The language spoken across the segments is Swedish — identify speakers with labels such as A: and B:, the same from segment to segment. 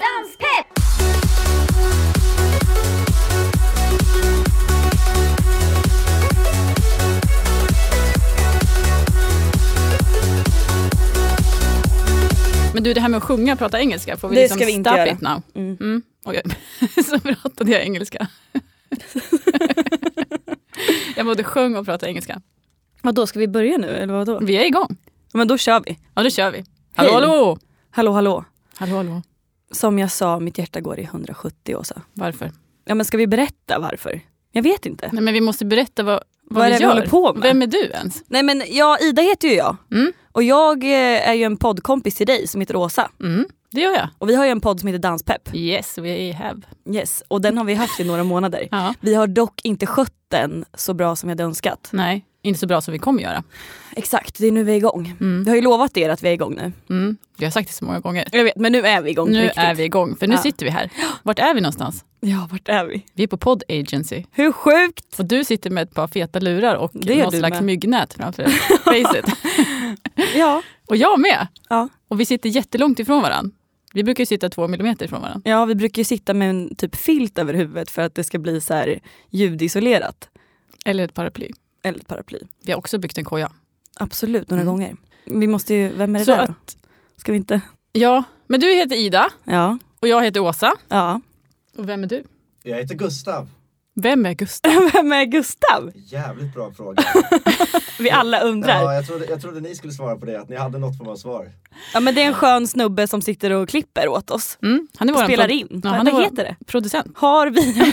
A: Danspepp!
B: Men du, det här med att sjunga och prata engelska, får vi
C: Det
B: liksom
C: ska vi inte
B: stop
C: göra.
B: it now?
C: Mm.
B: Mm. Oj, så pratade jag engelska. jag både sjöng och pratade engelska.
C: Vadå, ska vi börja nu eller vadå?
B: Vi är igång.
C: Mm. Men då kör vi.
B: Ja, då kör vi. Hallå,
C: Hej.
B: hallå!
C: Hallå hallå.
B: Hallå, hallå.
C: Som jag sa, mitt hjärta går i 170 Åsa.
B: Varför?
C: Ja men ska vi berätta varför? Jag vet inte.
B: Nej, men vi måste berätta vad, vad,
C: Mm. Vad är
B: vi
C: det vi
B: gör.
C: håller på med?
B: Vem är du ens?
C: Nej men jag, Ida heter ju jag.
B: Mm.
C: Och jag eh, är ju en poddkompis till dig som heter Åsa.
B: Mm, det gör jag.
C: Och vi har ju en podd som heter Danspepp.
B: Yes, we have.
C: Yes. Och den har vi haft i några månader.
B: Ja.
C: Vi har dock inte skött den så bra som vi hade önskat.
B: Nej, inte så bra som vi kommer göra.
C: Exakt, det är nu vi är igång.
B: Mm.
C: Vi har ju lovat er att vi är igång nu.
B: Mm. Jag har sagt det så många gånger.
C: Jag vet, men nu är vi igång
B: Nu
C: på riktigt.
B: är vi igång, för nu
C: Ja.
B: sitter vi här. Vart är vi någonstans?
C: Ja, vart är vi?
B: Vi är på Pod Agency.
C: Hur sjukt!
B: Och du sitter med ett par feta lurar och
C: Det gör
B: något
C: du
B: slags
C: med.
B: myggnät framför dig. Face it.
C: Ja.
B: Och jag med.
C: Ja.
B: Och vi sitter jättelångt ifrån varandra. Vi brukar ju sitta två millimeter ifrån varandra.
C: ja, vi brukar ju sitta med en typ filt över huvudet för att det ska bli så här ljudisolerat.
B: Eller ett paraply.
C: Eller ett paraply.
B: Vi har också byggt en koja.
C: Absolut, några
B: Mm.
C: gånger. Vi måste ju, vem är det
B: Så
C: där då?
B: att,
C: Ska vi inte?
B: ja, men du heter Ida
C: Ja.
B: och jag heter Åsa.
C: Ja.
B: Och vem är du?
D: Jag heter Gustav.
B: Vem är Gustav?
C: Vem är Gustav?
D: Jävligt bra fråga.
C: Vi alla undrar.
D: Ja, jag, trodde, jag trodde ni skulle svara på det, att ni hade något form av svar.
C: Ja men det är en skön snubbe som sitter och klipper åt oss.
B: Mm, han är
C: Och
B: våran
C: spelar
B: prod-
C: in.
B: Ja,
C: Vad-
B: han är
C: Vad
B: vår
C: heter det?
B: producent.
C: Har vi en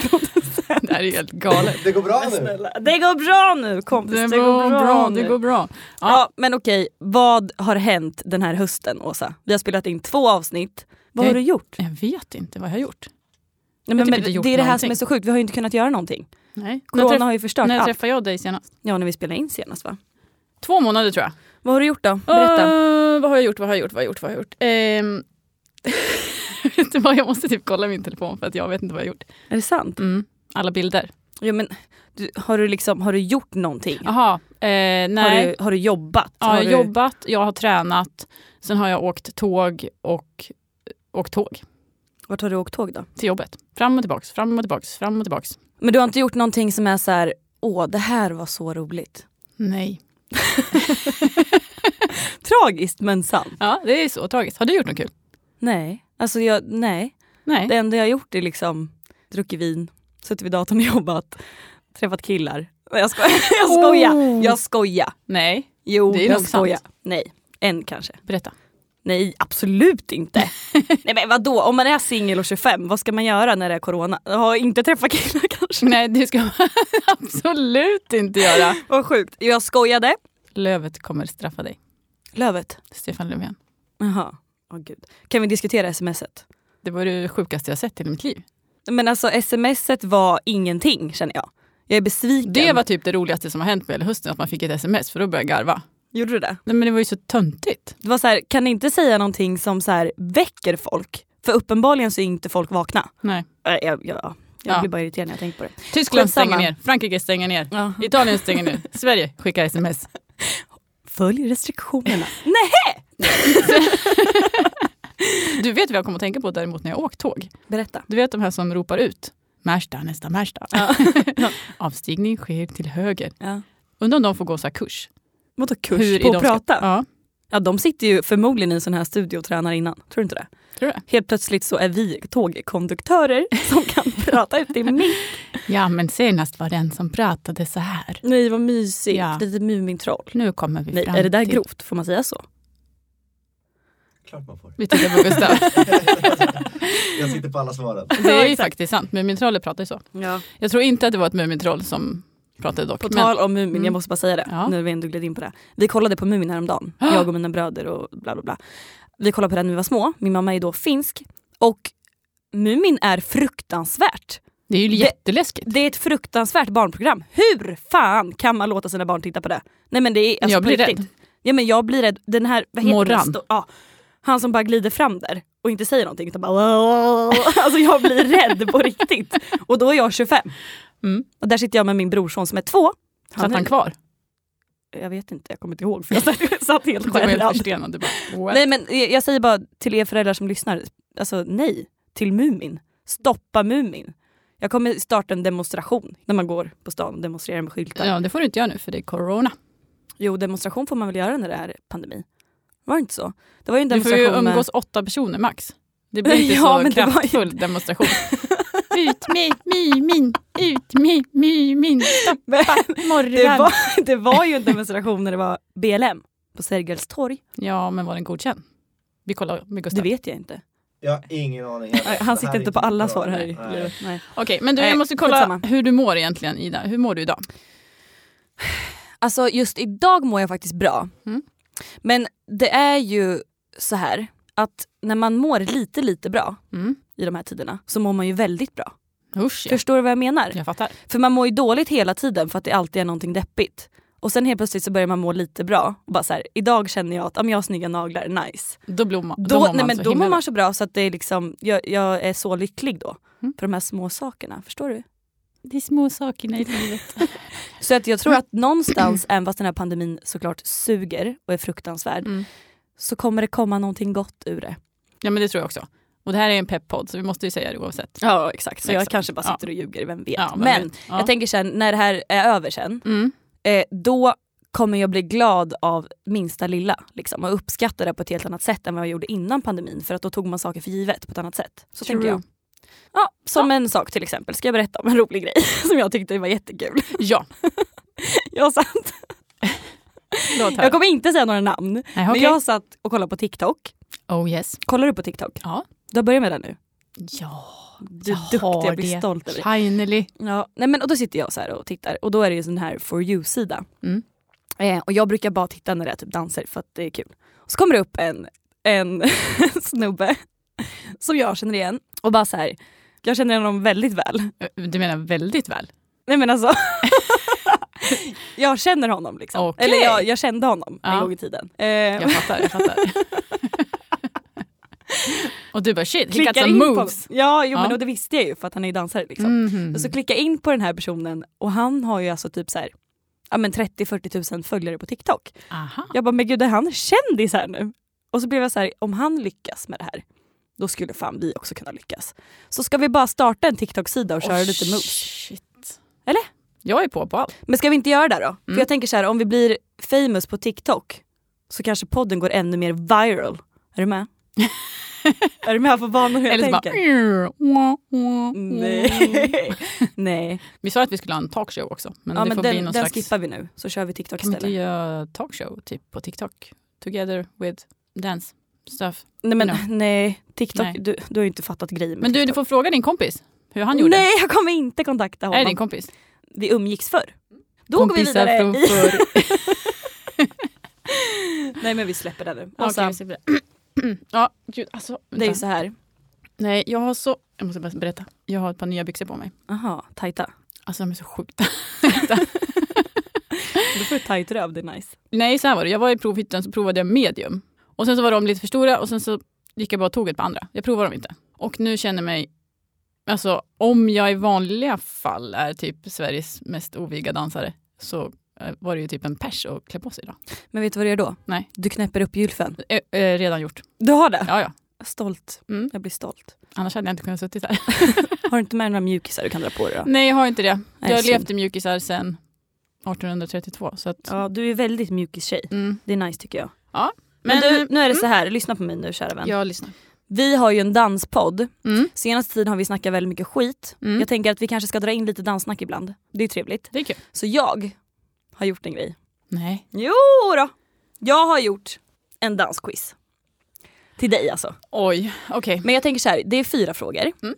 C: producent?
B: Det här är ju helt galet.
D: Det går bra nu.
C: Snälla. Det går bra nu kompis. Det, går bra, nu.
B: det går bra.
C: Ja.
B: Ja.
C: men okej, vad har hänt den här hösten Åsa? Vi har spelat in två avsnitt. Vad
B: Jag-
C: har du gjort?
B: Jag vet inte vad jag har gjort.
C: Nej, men,
B: typ
C: men,
B: inte gjort
C: det är det här
B: någonting.
C: som är så sjukt, vi har ju inte kunnat göra någonting.
B: Nej. När,
C: Corona
B: träff-
C: har ju förstört
B: när
C: allt.
B: träffade jag dig senast?
C: Ja när vi spelade in senast va?
B: Två månader tror jag.
C: Vad har du gjort då? Berätta.
B: Åh, Ah, vad har jag gjort, vad har jag gjort, vad har jag gjort, vad har jag gjort? Ehm, vet du vad, jag måste typ kolla min telefon för att jag vet inte vad jag har gjort.
C: Är det sant?
B: Mm. Alla bilder.
C: Ja, men, du, har, du liksom, har du gjort någonting?
B: Jaha, eh, nej.
C: Har, du, har du jobbat?
B: ja,
C: har
B: jag har
C: du...
B: jobbat, jag har tränat, sen har jag åkt tåg och åkt tåg
C: Vart har du åkt tåg då?
B: till jobbet. Fram och tillbaks, fram och tillbaks, fram och tillbaks.
C: Men du har inte gjort någonting som är så här, åh det här var så roligt.
B: Nej.
C: Tragiskt men sant.
B: Ja, det är så tragiskt. Har du gjort något kul?
C: Nej, alltså jag, nej.
B: Nej.
C: Det enda jag har gjort är liksom druckit vin, suttit vid datorn och jobbat, träffat killar. Nej, Jag skojar, jag skojar.
B: Oh.
C: Jag skojar.
B: Nej,
C: Jo,
B: Det är
C: jag
B: nog sant.
C: skojar. Nej, en kanske.
B: berätta.
C: Nej, absolut inte. nej men vadå, om man är singel och 25, vad ska man göra när det är corona? Ja, inte träffa killar kanske.
B: Nej, det ska man absolut inte göra.
C: Vad sjukt. Jag skojade.
B: Lövet kommer straffa dig,
C: Lövet.
B: Stefan Löfven.
C: Jaha. Åh gud. Kan vi diskutera smset?
B: Det var det sjukaste jag sett i mitt liv.
C: Men alltså smset var ingenting känner jag. Jag är besviken.
B: Det var typ det roligaste som har hänt med hela hösten, att man fick ett sms, för då började jag garva.
C: Gjorde du det?
B: Nej, men det var ju så töntigt.
C: Det var så här, kan ni inte säga någonting som så här, väcker folk? För uppenbarligen så är inte folk vakna.
B: Nej.
C: Äh, jag, jag, jag
B: Ja.
C: blir bara irriterad när jag tänker på det.
B: Tyskland
C: Skitsamma.
B: stänger ner, Frankrike stänger ner,
C: Ja.
B: Italien stänger ner, Sverige skickar sms.
C: Följ restriktionerna.
B: Du vet vad jag kommer att tänka på däremot när jag åkt tåg?
C: Berätta.
B: Du vet de här som ropar ut Märsta, nästa Märsta. Avstigning sker till höger.
C: Ja.
B: Undrar om de får gå så här kurs.
C: Vadå kurs
B: Hur
C: på
B: de
C: att
B: ska-
C: prata? Ja.
B: Ja,
C: de sitter ju förmodligen i en sån här studio och tränar innan. Tror du inte det?
B: tror jag.
C: Helt plötsligt så är vi tågkonduktörer som kan prata ut i mick.
B: Ja, men senast var den som pratade så här.
C: Nej vad mysigt.
B: Ja.
C: Lite Mumintroll.
B: Nu kommer vi
C: Nej,
B: fram
C: är det där
B: till...
C: grovt? Får man säga så?
D: Klart man får.
B: Vi tittar på Gustav.
D: Jag sitter på alla svaren.
B: Det är ju
C: Exakt.
B: faktiskt sant. Mumintrollet pratar ju så.
C: Ja.
B: Jag tror inte att det var ett Mumintroll som pratade dock.
C: På
B: men-
C: tal om Mumin,
B: Mm.
C: jag måste bara säga det
B: Ja.
C: nu när vi ändå gled in på det. Vi kollade på Mumin häromdagen, jag och mina bröder och bla bla bla. Vi kollade på den när vi var små, min mamma är då finsk och Mumin är fruktansvärt.
B: det är ju jätteläskigt.
C: Det är ett fruktansvärt barnprogram. Hur fan kan man låta sina barn titta på det? Nej men det är alltså
B: Jag
C: på
B: blir
C: riktigt.
B: rädd.
C: Ja men jag blir rädd. Den här, vad heter
B: Morran.
C: den? Stå- Ja, han som bara glider fram där och inte säger någonting utan bara Alltså jag blir rädd på riktigt. Och då är jag 25.
B: Mm.
C: Och där sitter jag med min brorson som är två.
B: Satt
C: är-
B: han kvar?
C: Jag vet inte, jag kommer inte ihåg för jag satt, satt helt
B: Du var helt
C: skärrad.
B: förstenad. Du bara, what?
C: Nej men jag jag säger bara till er föräldrar som lyssnar, alltså nej. till Mumin. Stoppa Mumin. Jag kommer starta en demonstration när man går på stan och demonstrerar med skyltar.
B: Ja, det får du inte göra nu för det är corona.
C: Jo, demonstration får man väl göra när det är pandemi. Var det inte så? Det var ju en
B: Du får ju
C: demonstration med...
B: umgås åtta personer max. Det blir inte
C: Ja,
B: så
C: men det var ju-
B: kraftfull demonstration. Ut med Mumin, ut med Mumin, stoppa
C: Det
B: morran.
C: var, det var ju en demonstration när det var BLM på Sergels torg.
B: Ja, men var den godkänd? Vi kollar med
C: Det
B: Gustav.
C: vet jag inte.
D: Jag har ingen aning.
C: Nej,
D: Det här
C: Han sitter
D: är
C: inte på alla
D: bra.
C: svar här i
D: Nej.
C: livet. Nej.
B: Okej, men du, jag
C: Nej,
B: måste kolla
C: skitsamma.
B: hur du mår egentligen Ida. Hur mår du idag?
C: Alltså just idag mår jag faktiskt bra.
B: Mm.
C: Men det är ju så här att när man mår lite lite bra
B: Mm.
C: i de här tiderna så mår man ju väldigt bra.
B: Usch, ja.
C: Förstår du vad jag menar?
B: jag fattar.
C: För man mår ju dåligt hela tiden för att det alltid är någonting deppigt. Och sen helt plötsligt så börjar man må lite bra. Och bara så här, idag känner jag att om jag har snygga naglar, nice.
B: Då, blir man,
C: Då,
B: då mår man
C: nej, men
B: så
C: då
B: himla
C: mår
B: bra.
C: man så bra så att det är liksom, jag, jag är så lycklig då.
B: Mm.
C: För de här små sakerna, förstår du?
B: Det är små sakerna i livet.
C: Så att jag
B: Mm.
C: tror att någonstans, även fast den här pandemin såklart suger och är fruktansvärd,
B: Mm.
C: så kommer det komma någonting gott ur det.
B: Ja, men det tror jag också. Och det här är en peppodd, så vi måste ju säga det oavsett.
C: Ja exakt, så jag
B: Exakt.
C: kanske bara
B: Ja.
C: sitter och ljuger, vem vet.
B: Ja, vem
C: men
B: vet. Ja.
C: jag tänker sen, när det här är över sen,
B: Mm.
C: eh, då kommer jag bli glad av minsta lilla. Liksom, och uppskatta det på ett helt annat sätt än vad jag gjorde innan pandemin. För att då tog man saker för givet på ett annat sätt. Så
B: True.
C: tänker jag. Ja, som en sak till exempel, ska jag berätta om en rolig grej som jag tyckte var jättekul.
B: Ja,
C: Jag, satt,
B: låt höra.
C: jag kommer inte säga några namn,
B: Nej,
C: men
B: okej.
C: jag satt och kollade på TikTok.
B: Oh yes.
C: Kollar du på TikTok?
B: Ja.
C: Du har börjat med det nu?
B: Ja,
C: Du
B: Jag
C: är duktig,
B: har
C: jag blir
B: det.
C: stolt över dig.
B: finally.
C: Ja, nej men, och då sitter jag så här och tittar och då är det ju sån här for you-sida.
B: Mm.
C: Eh, och jag brukar bara titta när det är typ danser för att det är kul. Och så kommer det upp en, en snubbe som jag känner igen och bara så här, jag känner honom väldigt väl.
B: Eh, Du menar väldigt väl?
C: Nej men alltså. jag känner honom liksom.
B: Okej.
C: Eller jag, jag kände honom
B: Ja.
C: en gång i tiden. Eh,
B: Jag fattar, jag fattar. Och du bara shit, he got
C: klickar
B: some
C: in på
B: moves.
C: honom. Ja, jo,
B: Ja.
C: men och det visste jag ju för att han är ju dansare liksom.
B: Mhm.
C: Och så klicka in på den här personen och han har ju alltså typ så här, ja men 30-40 tusen följare på TikTok.
B: Aha.
C: Jag bara, men gud är han kändis här nu? Och så blev jag så här, om han lyckas med det här, då skulle fan vi också kunna lyckas. Så ska vi bara starta en TikTok-sida och köra
B: Oh,
C: lite moves?
B: Shit.
C: Eller?
B: Jag är på på allt.
C: Men ska vi inte göra det då?
B: Mm.
C: För jag tänker så här, om vi blir famous på TikTok så kanske podden går ännu mer viral. Är du med? är du med på banan hur jag
B: Eller så bara... "Mm,
C: tänker? Nej. Nej.
B: Vi sa att vi skulle ha en talkshow också. Mm. Men
C: Ja,
B: det
C: men
B: får bli
C: den,
B: någon
C: den
B: slags...
C: skippar vi nu, så kör vi TikTok
B: Kan vi
C: istället.
B: inte göra talkshow typ, på TikTok? Together with dance stuff.
C: Nej men
B: No.
C: nej, TikTok,
B: Nej.
C: Du, du har ju inte fattat grejen med
B: Men du, du
C: TikTok.
B: får fråga din kompis hur han gjorde.
C: Nej jag kommer inte kontakta
B: Är det
C: honom.
B: din kompis?
C: vi umgicks förr. Då
B: Kompisar
C: går vi
B: från
C: vidare. I...
B: förr.
C: Nej men vi släpper det nu.
B: Ja,
C: Alltså,
B: okej, vi ser på det. ja, gud alltså.
C: Det är ju
B: vänta.
C: så här.
B: Nej, jag har så... Jag måste bara berätta. Jag har ett par nya byxor på mig.
C: Aha, tajta.
B: Alltså de är så sjukt
C: Då får du tajt röv, det är nice.
B: Nej, så här var det. Jag var i provhytten så provade jag medium. Och sen så var de lite för stora och sen så gick jag bara och tog ett på andra. Jag provade dem inte. Och nu känner jag mig, alltså om jag i vanliga fall är typ Sveriges mest oviga dansare så eh, var det ju typ en pers att klä på sig idag.
C: Men vet du vad du gör då?
B: Nej.
C: Du knäpper upp gylfen.
B: Eh, eh, redan gjort.
C: Du har det?
B: Ja, ja.
C: Stolt.
B: Mm.
C: Jag blir stolt.
B: Annars hade jag inte kunnat suttit här.
C: Har du inte med några mjukisar du kan dra på dig då?
B: Nej, jag har inte det. Jag
C: Nej,
B: har
C: synd.
B: levt i mjukisar sedan 1832. Så att,
C: Ja, du är väldigt mjukis-tjej.
B: mm.
C: Det är nice tycker jag. Men, mm.
B: Men,
C: du, nu är det så här, lyssna på mig nu kära vän.
B: Jag lyssnar.
C: Vi har ju en danspodd.
B: Mm.
C: Senaste tiden har vi snackat väldigt mycket skit.
B: Mm.
C: Jag tänker att vi kanske ska dra in lite danssnack ibland. Det är trevligt.
B: Det är kul.
C: Så jag har gjort en grej.
B: Nej.
C: Jo då. Jag har gjort en dansquiz. Till dig alltså.
B: Oj, okej.
C: Men jag tänker så här, det är fyra frågor.
B: Mm.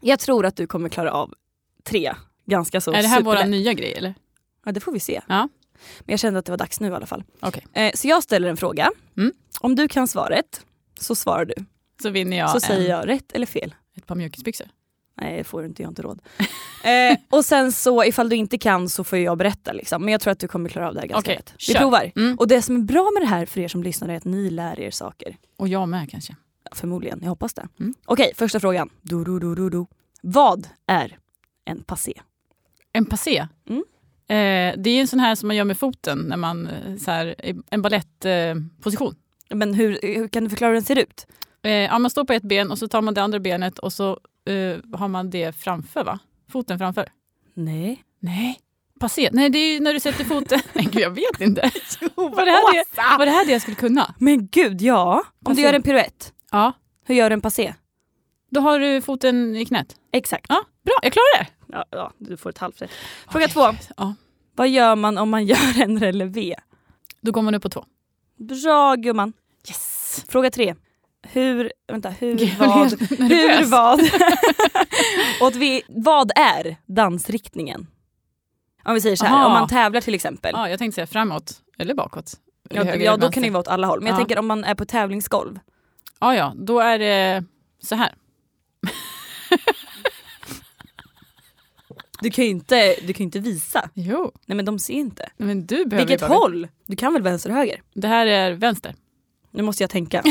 C: Jag tror att du kommer klara av tre ganska så
B: Är det här våra
C: superlätt.
B: nya grej eller?
C: Ja det får vi se.
B: Ja.
C: Men jag kände att det var dags nu i alla fall.
B: Okej.
C: Eh, så jag ställer en fråga.
B: Mm.
C: Om du kan svaret så svarar du.
B: Så vinner jag
C: så
B: en,
C: säger jag rätt eller fel.
B: ett par mjukisbyxor.
C: Nej det får du inte, jag har inte råd. eh, och sen så ifall du inte kan så får jag berätta liksom. Men jag tror att du kommer klara av det här ganska
B: Okej,
C: lätt. Vi
B: kör.
C: provar.
B: Mm.
C: Och det som är bra med det här för er som lyssnar är att ni lär er saker.
B: Och jag med kanske.
C: Ja, Förmodligen, jag hoppas det.
B: Mm.
C: Okej, första frågan. Du, du, du, du, du. Vad är en passé?
B: En passé.
C: Mm.
B: Eh, det är en sån här som man gör med foten när man eh, så här, i en balettposition. Eh, position.
C: Men hur, hur kan du förklara hur den ser ut?
B: Eh, ja, man står på ett ben och så tar man det andra benet och så eh, har man det framför va? Foten framför?
C: Nej.
B: Nej. Passé? Nej, det är ju när du sätter foten... Nej, gud, jag vet inte.
C: Vad
B: Var det, här det, var det här det jag skulle kunna?
C: Men gud, ja. Om
B: Passé.
C: du gör en piruett,
B: Ja.
C: hur gör du en passé?
B: Då har du foten i knät.
C: Exakt.
B: Ja, bra. Jag klarar det.
C: Ja, ja, du får ett halvt rätt. Fråga två.
B: Ja.
C: Vad gör man om man gör en relevé?
B: Då går man upp på två.
C: Bra gumman.
B: Yes!
C: Fråga tre. Hur, vänta, hur,
B: Gud,
C: vad,
B: jag blev
C: hur,
B: nervös.
C: vad, och vi, vad är dansriktningen? Om vi säger så här,
B: Aha.
C: om man tävlar till exempel.
B: Ja, jag tänkte säga framåt eller bakåt. Eller
C: Ja,
B: höger
C: ja
B: eller
C: då kan det
B: vänster.
C: ju vara åt alla håll. Men jag
B: Ja.
C: tänker om man är på tävlingsgolv.
B: Ja, ja, då är det så här.
C: Du kan ju inte, du kan ju inte visa.
B: Jo,
C: Nej men de ser inte.
B: men du behöver
C: Vilket
B: ju bara-
C: håll? Du kan väl vänster och höger?
B: Det här är vänster.
C: Nu måste jag tänka.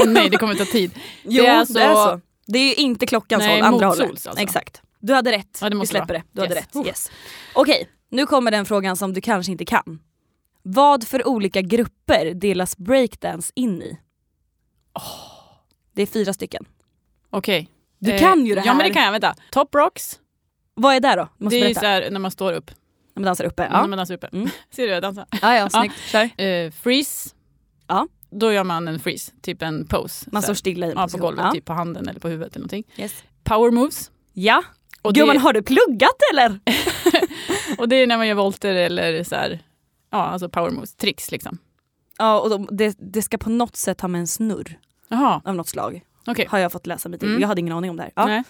B: Åh nej, det kommer ta tid.
C: Jo,
B: Det är alltså-
C: det är så. Det är ju inte klockans
B: Nej,
C: håll, andra
B: motsols
C: hållet.
B: alltså.
C: Exakt. Du hade rätt.
B: Ja, det
C: Vi
B: måste
C: släpper
B: vara.
C: det. Du hade
B: Yes.
C: rätt.
B: Oh.
C: Yes. Okej, nu kommer den frågan som du kanske inte kan. Vad för olika grupper delas breakdance in i? Det är fyra stycken.
B: Okej. Eh,
C: Du kan ju det här.
B: Ja, men det kan jag. Vänta. Top rocks,
C: Vad är det då? Du måste
B: det är ju
C: berätta.
B: så här när man står upp.
C: När man dansar uppe.
B: När
C: Ja,
B: man dansar uppe.
C: Mm.
B: Ser du, jag dansar.
C: ja, ja snyggt. Kör.
B: Eh, freeze.
C: Ja.
B: Då gör man en freeze, typ en pose.
C: Man
B: Så
C: står
B: här.
C: stilla i en
B: ja, på
C: position.
B: golvet,
C: Ja.
B: typ på handen eller på huvudet eller någonting.
C: Yes.
B: Power moves.
C: ja.
B: Och
C: Gumman,
B: det,
C: har du pluggat eller?
B: och det är när man gör volter eller så här, ja alltså power moves, tricks liksom.
C: Ja, och de, det, det ska på något sätt ha med en snurr
B: Jaha,
C: av något slag.
B: okej.
C: Har jag fått läsa mig till.
B: Mm.
C: Jag hade ingen aning om det här. Ja.
B: Nej.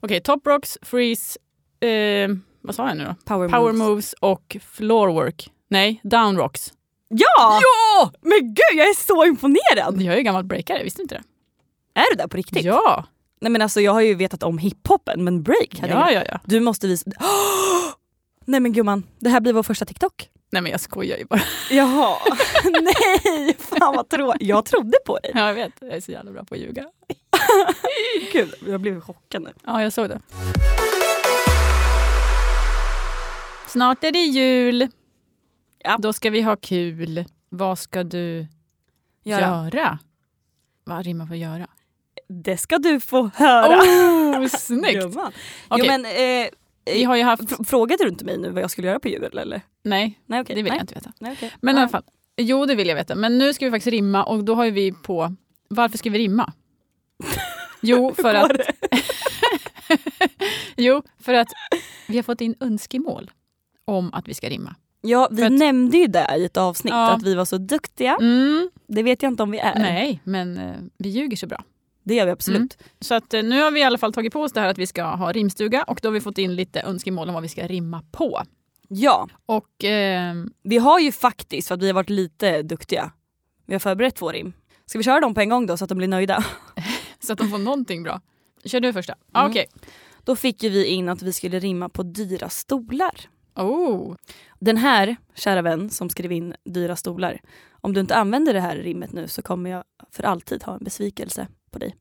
B: Okej, top rocks, freeze, eh, vad sa jag nu då?
C: Power,
B: Power
C: moves.
B: moves och floor work. Nej, down rocks.
C: Ja! ja! Men gud, jag är så imponerad!
B: Jag är ju gammal breakare, visste du inte det?
C: Är du där på riktigt?
B: Ja,
C: Nej men alltså jag har ju vetat om hiphopen men break hade jag
B: ja,
C: ingen-
B: ja, ja.
C: Du måste visa... Nej men gumman, det här blir vår första TikTok.
B: Nej men jag skojar ju bara.
C: Jaha. Nej, fan vad tråkigt. Jag trodde på dig.
B: Ja, jag vet, jag är så jävla bra på att ljuga.
C: Gud, jag blev chockad nu.
B: Ja, jag såg det. Snart är det jul.
C: Ja.
B: Då ska vi ha kul. Vad ska du göra? Vad rimmar på göra?
C: Det ska du få höra.
B: Oh, snyggt!
C: Gumman.
B: Okej.
C: Jo men, eh,
B: Vi har ju haft...
C: fr- frågade du inte mig nu vad jag skulle göra på jul eller?
B: Nej,
C: Nej
B: det
C: okej.
B: vill
C: Nej.
B: jag inte veta.
C: Nej, okej.
B: Men i
C: Ja.
B: alla fall. Jo, det vill jag veta. Men nu ska vi faktiskt rimma och då har ju vi på... Varför ska vi rimma? Jo, för att,
C: Går det?
B: jo, för att vi har fått in önskemål om att vi ska rimma.
C: Ja, vi
B: för att-
C: nämnde ju det i ett avsnitt,
B: Ja.
C: att vi var så duktiga.
B: Mm,
C: Det vet jag inte om vi är.
B: nej, men eh, vi ljuger så bra.
C: Det gör vi absolut.
B: Så att, eh, nu har vi i alla fall tagit på oss det här att vi ska ha rimstuga och då har vi fått in lite önskemål om vad vi ska rimma på.
C: Ja,
B: Och ehm,
C: vi har ju faktiskt, för att vi har varit lite duktiga, vi har förberett två rim. Ska vi köra dem på en gång då så att de blir nöjda?
B: så att de får någonting bra. Kör du första. Ah,
C: Mm.
B: Okej.
C: Då fick ju vi in att vi skulle rimma på dyra stolar.
B: Oh.
C: Den här, kära vän som skrev in dyra stolar, om du inte använder det här rimmet nu så kommer jag för alltid ha en besvikelse på dig.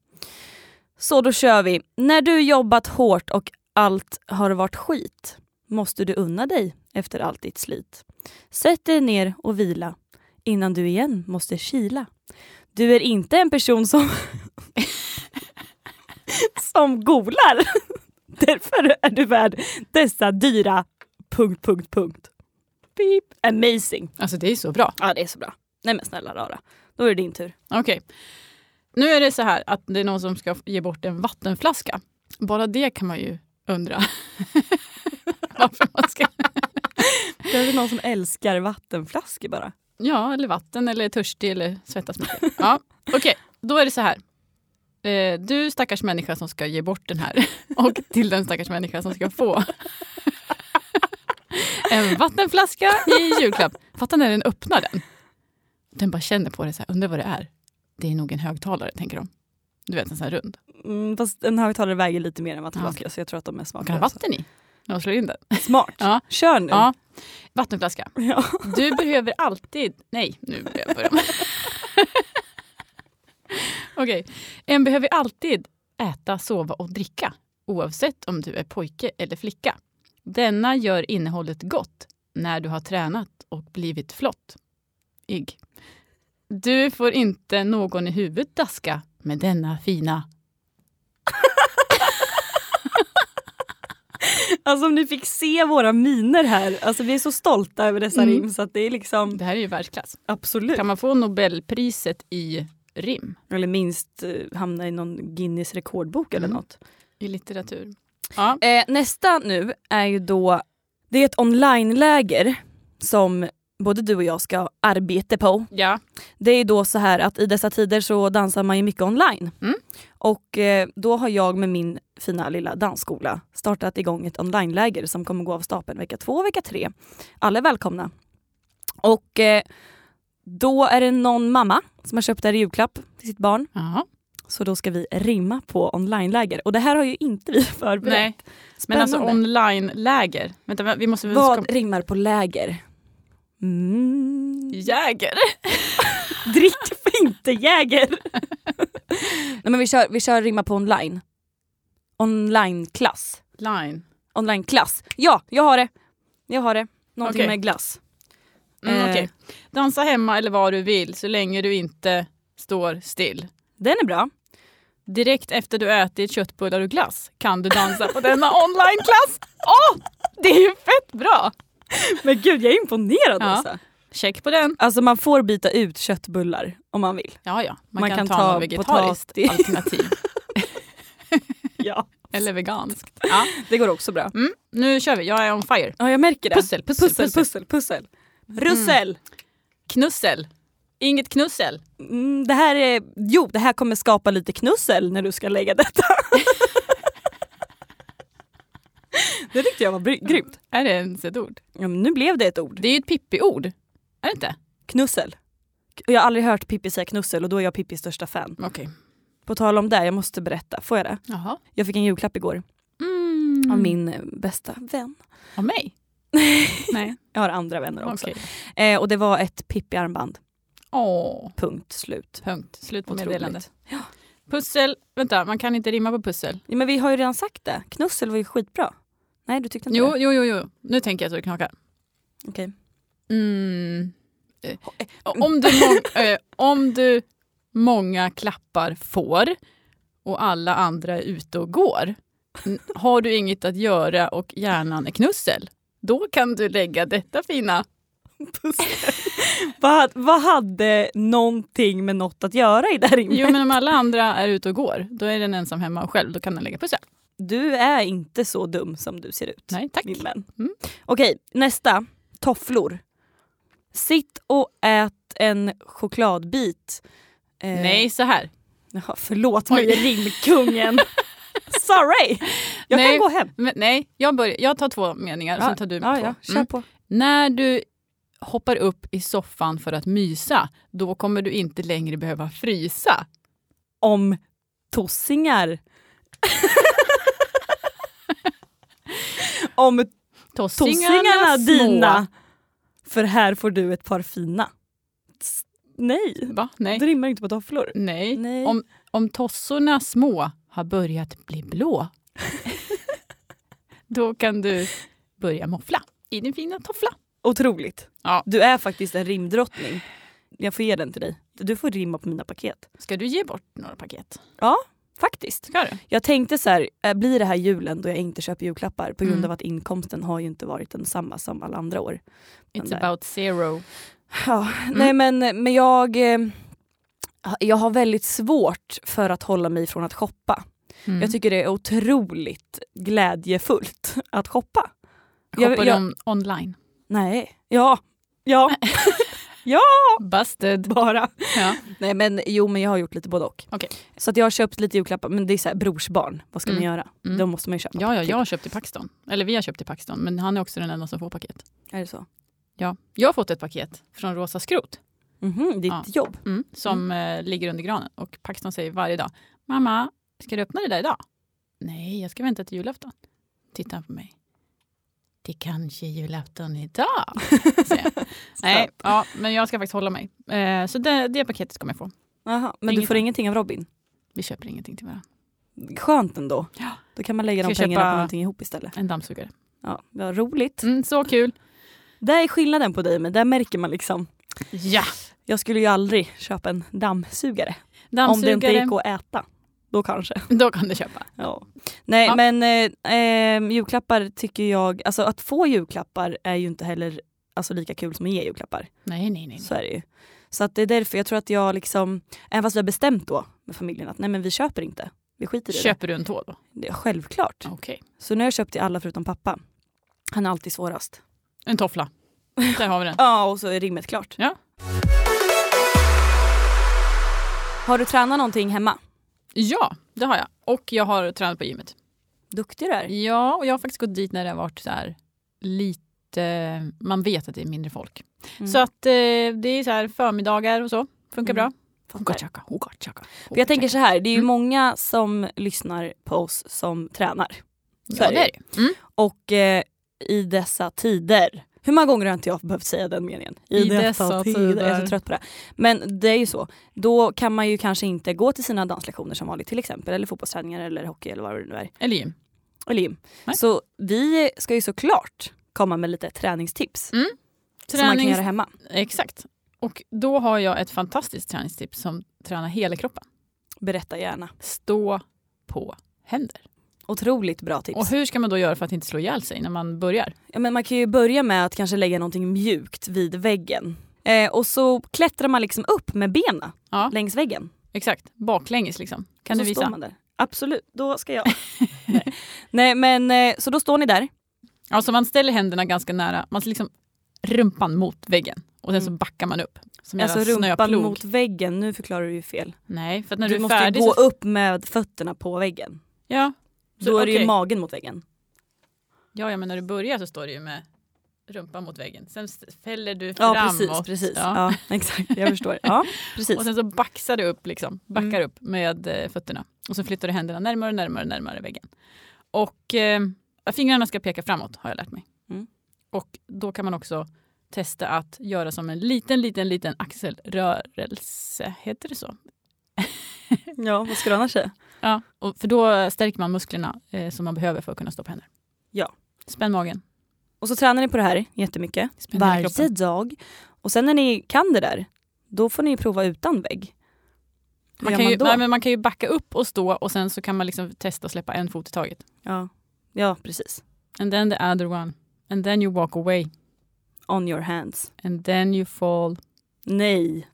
C: Så då kör vi. När du jobbat hårt och allt har varit skit måste du unna dig efter allt ditt slit. Sätt dig ner och vila innan du igen måste kila. Du är inte en person som som golar. Därför är du värd dessa dyra... Punkt, punkt, punkt. Beep. Amazing.
B: Alltså det är så bra.
C: Ja, det är så bra. Nej men snälla rara, då är det din tur.
B: Okej. Nu är det så här att det är någon som ska ge bort en vattenflaska. Bara det kan man ju undra. Varför man ska...
C: Det är någon som älskar vattenflaskor bara.
B: Ja, eller vatten eller är törstig eller svettas mycket. Ja. Okej, då är det så här. Eh, Du stackars människa som ska ge bort den här och till den stackars människa som ska få en vattenflaska i julklapp. Fattar när den öppnar den. Den bara känner på det så här, undrar vad det är. Det är nog en högtalare tänker de. Du vet en sån här rund.
C: Mm, fast en högtalare väger lite mer än vattenflaska så jag tror att de är
B: Man kan
C: smartare.
B: ha vatten i Alltså. när de slår in den.
C: också. Smart.
B: Ja.
C: Kör nu.
B: Ja. Vattenflaska.
C: Ja.
B: Du behöver alltid... Nej, nu börjar jag börja. Okej. En behöver alltid äta, sova och dricka oavsett om du är pojke eller flicka. Denna gör innehållet gott när du har tränat och blivit flott. Igg. Du får inte någon i huvudet daska med denna fina.
C: Alltså om ni fick se våra miner här. Alltså vi är så stolta över dessa
B: Mm.
C: rim så att det är liksom
B: Det här är ju världsklass.
C: absolut.
B: Kan man få Nobelpriset i rim?
C: Eller minst eh, hamna i någon Guinness rekordbok eller
B: Mm.
C: något.
B: I litteratur? Ja.
C: Eh, nästa nu är ju då, det är ett onlineläger som både du och jag ska arbeta på.
B: ja.
C: Det är ju då så här att i dessa tider så dansar man ju mycket online.
B: Mm.
C: Och eh, då har jag med min fina lilla dansskola startat igång ett onlineläger som kommer gå av stapeln vecka två och vecka tre. Alla är välkomna. Och eh, då är det någon mamma som har köpt en julklapp till sitt barn.
B: Jaha.
C: Så då ska vi rimma på onlineläger. Och det här har ju inte vi förberett.
B: Nej. Men alltså online-läger. Vänta, va- vi måste...
C: Vad rimmar på läger? Mm.
B: Jäger?
C: Drick för inte Jäger! Nej men vi kör, vi kör rimma på online. Online-klass.
B: Line.
C: Online-klass. Ja, jag har det! Jag har det. Någonting
B: Okej.
C: med glass.
B: Mm,
C: Eh.
B: okej. Dansa hemma eller vad du vill så länge du inte står still.
C: Den är bra.
B: Direkt efter du ätit köttbullar och glass kan du dansa på denna online-klass. Åh! det är ju fett bra!
C: Men gud, jag är imponerad
B: Ja.
C: alltså.
B: Check på den.
C: Alltså man får byta ut köttbullar om man vill.
B: Ja, ja. Man,
C: Man
B: kan,
C: kan
B: ta,
C: ta
B: något vegetariskt
C: potatis.
B: alternativ.
C: Ja.
B: Eller veganskt. Ja.
C: Det går också bra.
B: Mm, nu kör vi. Jag är on fire.
C: Ja, jag märker det.
B: Pussel, pussel,
C: pussel.
B: pussel.
C: pussel, Mm. pussel. Russel!
B: Knussel. Inget knussel.
C: Mm, det här är, jo, det här kommer skapa lite knussel när du ska lägga detta. det tyckte jag var bry- grymt.
B: Är det ens ett ord?
C: Ja, men nu blev det ett ord.
B: Det är ju ett pippi-ord. Är det inte?
C: Knussel. Och Jag har aldrig hört Pippi säga knussel och då är jag Pippis största fan.
B: Okej.
C: På tal om det, jag måste berätta. Får jag det?
B: Jaha.
C: Jag fick en julklapp igår
B: Mm.
C: av min eh, bästa vän.
B: Av mig? Nej.
C: Jag har andra vänner också.
B: Okej.
C: Eh, och det var ett Pippi-armband.
B: Åh.
C: Punkt slut.
B: Punkt. Slut på meddelande.
C: Otroligt.
B: Pussel. Vänta, man kan inte rimma på pussel.
C: Ja, men vi har ju redan sagt det. Knussel var ju skitbra. Nej, du tyckte inte
B: Jo,
C: det?
B: jo, jo, jo. Nu tänker jag så det knakar.
C: Okej.
B: Mm. Eh, Om, du må- eh, om du många klappar får och alla andra är ute och går, n- har du inget att göra och hjärnan är knussel, då kan du lägga detta fina.
C: Vad, vad hade någonting med något att göra i det här
B: Jo,
C: rimmet?
B: men om alla andra är ute och går, då är den ensam hemma och själv, då kan den lägga pussel.
C: Du är inte så dum som du ser ut.
B: Nej, tack.
C: Min vän.
B: Mm.
C: Okej, nästa. Tofflor. Sitt och ät en chokladbit. Eh,
B: Nej, så här.
C: Jaha, förlåt
B: Oj.
C: mig, rimkungen. Sorry! Jag
B: Nej.
C: kan gå hem.
B: Men, nej, jag, börjar, jag tar två meningar och sen tar du
C: ja,
B: två.
C: ja, kör
B: Mm.
C: på.
B: När du hoppar upp i soffan för att mysa, då kommer du inte längre behöva frysa.
C: Om tossingar. Om tossingarna
B: Tossingarna små.
C: dina. För här får du ett par fina. S- Nej,
B: Va? Nej.
C: det rimmar inte på tofflor.
B: Nej.
C: Nej.
B: Om, om tossorna små har börjat bli blå, då kan du börja moffla i din fina toffla.
C: Otroligt.
B: Ja.
C: Du är faktiskt en rimdrottning. Jag får ge den till dig. Du får rimma på mina paket.
B: Ska du ge bort några paket?
C: Faktiskt.
B: Ska du?
C: Jag tänkte så här, eh, blir det här julen då jag inte köper julklappar på grund
B: Mm.
C: av att inkomsten har ju inte varit densamma som alla andra år. Mm. Den
B: It's
C: där. Mm.
B: about zero.
C: Ja, nej men, men jag, eh, jag har väldigt svårt för att hålla mig från att shoppa.
B: Mm.
C: Jag tycker det är otroligt glädjefullt att shoppa. jag-
B: Shoppar
C: jag-
B: de online?
C: Nej. Ja. Ja.
B: Busted.
C: Bara.
B: Ja.
C: Nej men jo men jag har gjort lite både och.
B: Okej.
C: Så att jag har köpt lite julklappar men det är så här, brorsbarn, vad ska
B: Mm.
C: man göra?
B: Mm.
C: De måste man ju köpa.
B: Ja, ja, jag
C: Typ.
B: har köpt i Paxton. Eller vi har köpt i Paxton, men han är också den enda som får paket.
C: Är det så?
B: Ja. Jag har fått ett paket från Rosa Skrot
C: Mhm, ditt
B: Ja.
C: jobb.
B: som
C: Mm.
B: eh, ligger under granen. Och Paxton säger varje dag, mamma, ska du öppna det där idag? Nej, jag ska vänta till julafton. Tittar han på mig. Det är kanske är julafton idag. säger jag. Nej, ja, men jag ska faktiskt hålla mig. Eh, så det, det paketet kommer jag få.
C: Aha, men du
B: Inget
C: får
B: annat.
C: ingenting av Robin?
B: Vi köper ingenting till varandra.
C: Skönt ändå.
B: Ja.
C: Då kan man lägga de
B: Ska jag
C: pengarna
B: köpa-
C: på någonting ihop istället.
B: En dammsugare.
C: Ja, vad roligt.
B: Mm, så kul.
C: Det är skillnaden på dig men där märker man liksom.
B: Ja.
C: Jag skulle ju aldrig köpa en dammsugare. Om det inte
B: Dammsugare,
C: gick att äta. Då kanske.
B: då kan du köpa.
C: Ja. Nej
B: Ja.
C: men eh, eh, julklappar tycker jag, alltså att få julklappar är ju inte heller alltså, lika kul som att ge julklappar.
B: Nej, nej, nej.
C: Så är det ju. Så att det är därför jag tror att jag liksom, även fast vi har bestämt då med familjen att nej men vi köper inte. Vi skiter i
B: Köper du en tå då?
C: det. det. är Självklart.
B: Okej.
C: Så nu har jag köpt till alla förutom pappa. Han är alltid svårast.
B: En toffla. Där har vi den.
C: Ja och så är rimmet klart.
B: Ja.
C: Har du tränat någonting hemma?
B: Ja, det har jag. Och jag har tränat på gymmet.
C: Duktig du är.
B: Ja, och jag har faktiskt gått dit när det har varit så här lite... Man vet att det är mindre folk.
C: Mm.
B: Så att eh, det är så här förmiddagar och så. Funkar
C: Mm.
B: bra. Hogachaka, hogachaka.
C: För jag tänker så här, det är ju
B: Mm.
C: många som lyssnar på oss som tränar. så
B: ja,
C: här
B: det är det. Mm.
C: Och eh, i dessa tider. Hur många gånger har inte jag behövt säga den meningen?
B: I dessa tider.
C: Jag är så trött på det. Men det är ju så. Då kan man ju kanske inte gå till sina danslektioner som vanligt till exempel. Eller fotbollsträningar eller hockey eller vad det nu är.
B: Eller gym.
C: Eller gym.
B: Nej.
C: Så vi ska ju såklart komma med lite träningstips.
B: Mm.
C: Som man kan
B: Tränings-
C: göra hemma.
B: Exakt. Och då har jag ett fantastiskt träningstips som tränar hela kroppen.
C: Berätta gärna.
B: Stå på händer.
C: Otroligt bra tips.
B: Och hur ska man då göra för att inte slå ihjäl sig när man börjar?
C: Ja, men man kan ju börja med att kanske lägga någonting mjukt vid väggen. Eh, och så klättrar man liksom upp med benen
B: Ja.
C: längs väggen.
B: Exakt, baklänges liksom. Kan
C: så
B: du
C: Står
B: visa?
C: man där. Absolut, då ska jag. Nej. Nej men eh, så då står ni där.
B: Alltså man ställer händerna ganska nära, man liksom rumpan mot väggen och sen så
C: Mm.
B: backar man upp. Som
C: Alltså
B: jävla
C: rumpan
B: snöplog.
C: mot väggen. Nu förklarar du ju fel.
B: Nej, för att när
C: du
B: du, är
C: måste
B: färdig
C: ju gå
B: så...
C: upp med fötterna på väggen.
B: Ja.
C: Då är det ju
B: okej.
C: magen mot väggen.
B: ja, ja, men när du börjar så står det ju med rumpan mot väggen. Sen s- fäller du
C: Ja
B: framåt.
C: precis, precis.
B: Ja.
C: Ja. exakt, jag förstår. Ja, precis. Mm.
B: Och sen så baxar du upp, liksom, backar upp med eh, fötterna. Och så flyttar du händerna närmare och närmare, och närmare väggen. Och eh, fingrarna ska peka framåt har jag lärt mig.
C: Mm.
B: Och då kan man också testa att göra som en liten, liten, liten axelrörelse. Heter det så?
C: Ja, vad ska du annars säga?
B: Ja, och för då stärker man musklerna eh, som man behöver för att kunna stå på händer.
C: Ja.
B: Spänn magen.
C: Och så tränar ni på det här jättemycket.
B: Spänn hela
C: Varje
B: kroppen.
C: dag. Och sen när ni kan det där, då får ni ju prova utan vägg. Hur
B: Man
C: gör
B: kan, ju,
C: då?
B: nej, men man kan ju backa upp och stå och sen så kan man liksom testa att släppa en fot i taget.
C: ja. ja, precis.
B: And then the other one. And then you walk away.
C: On your hands.
B: And then you fall
C: Nej.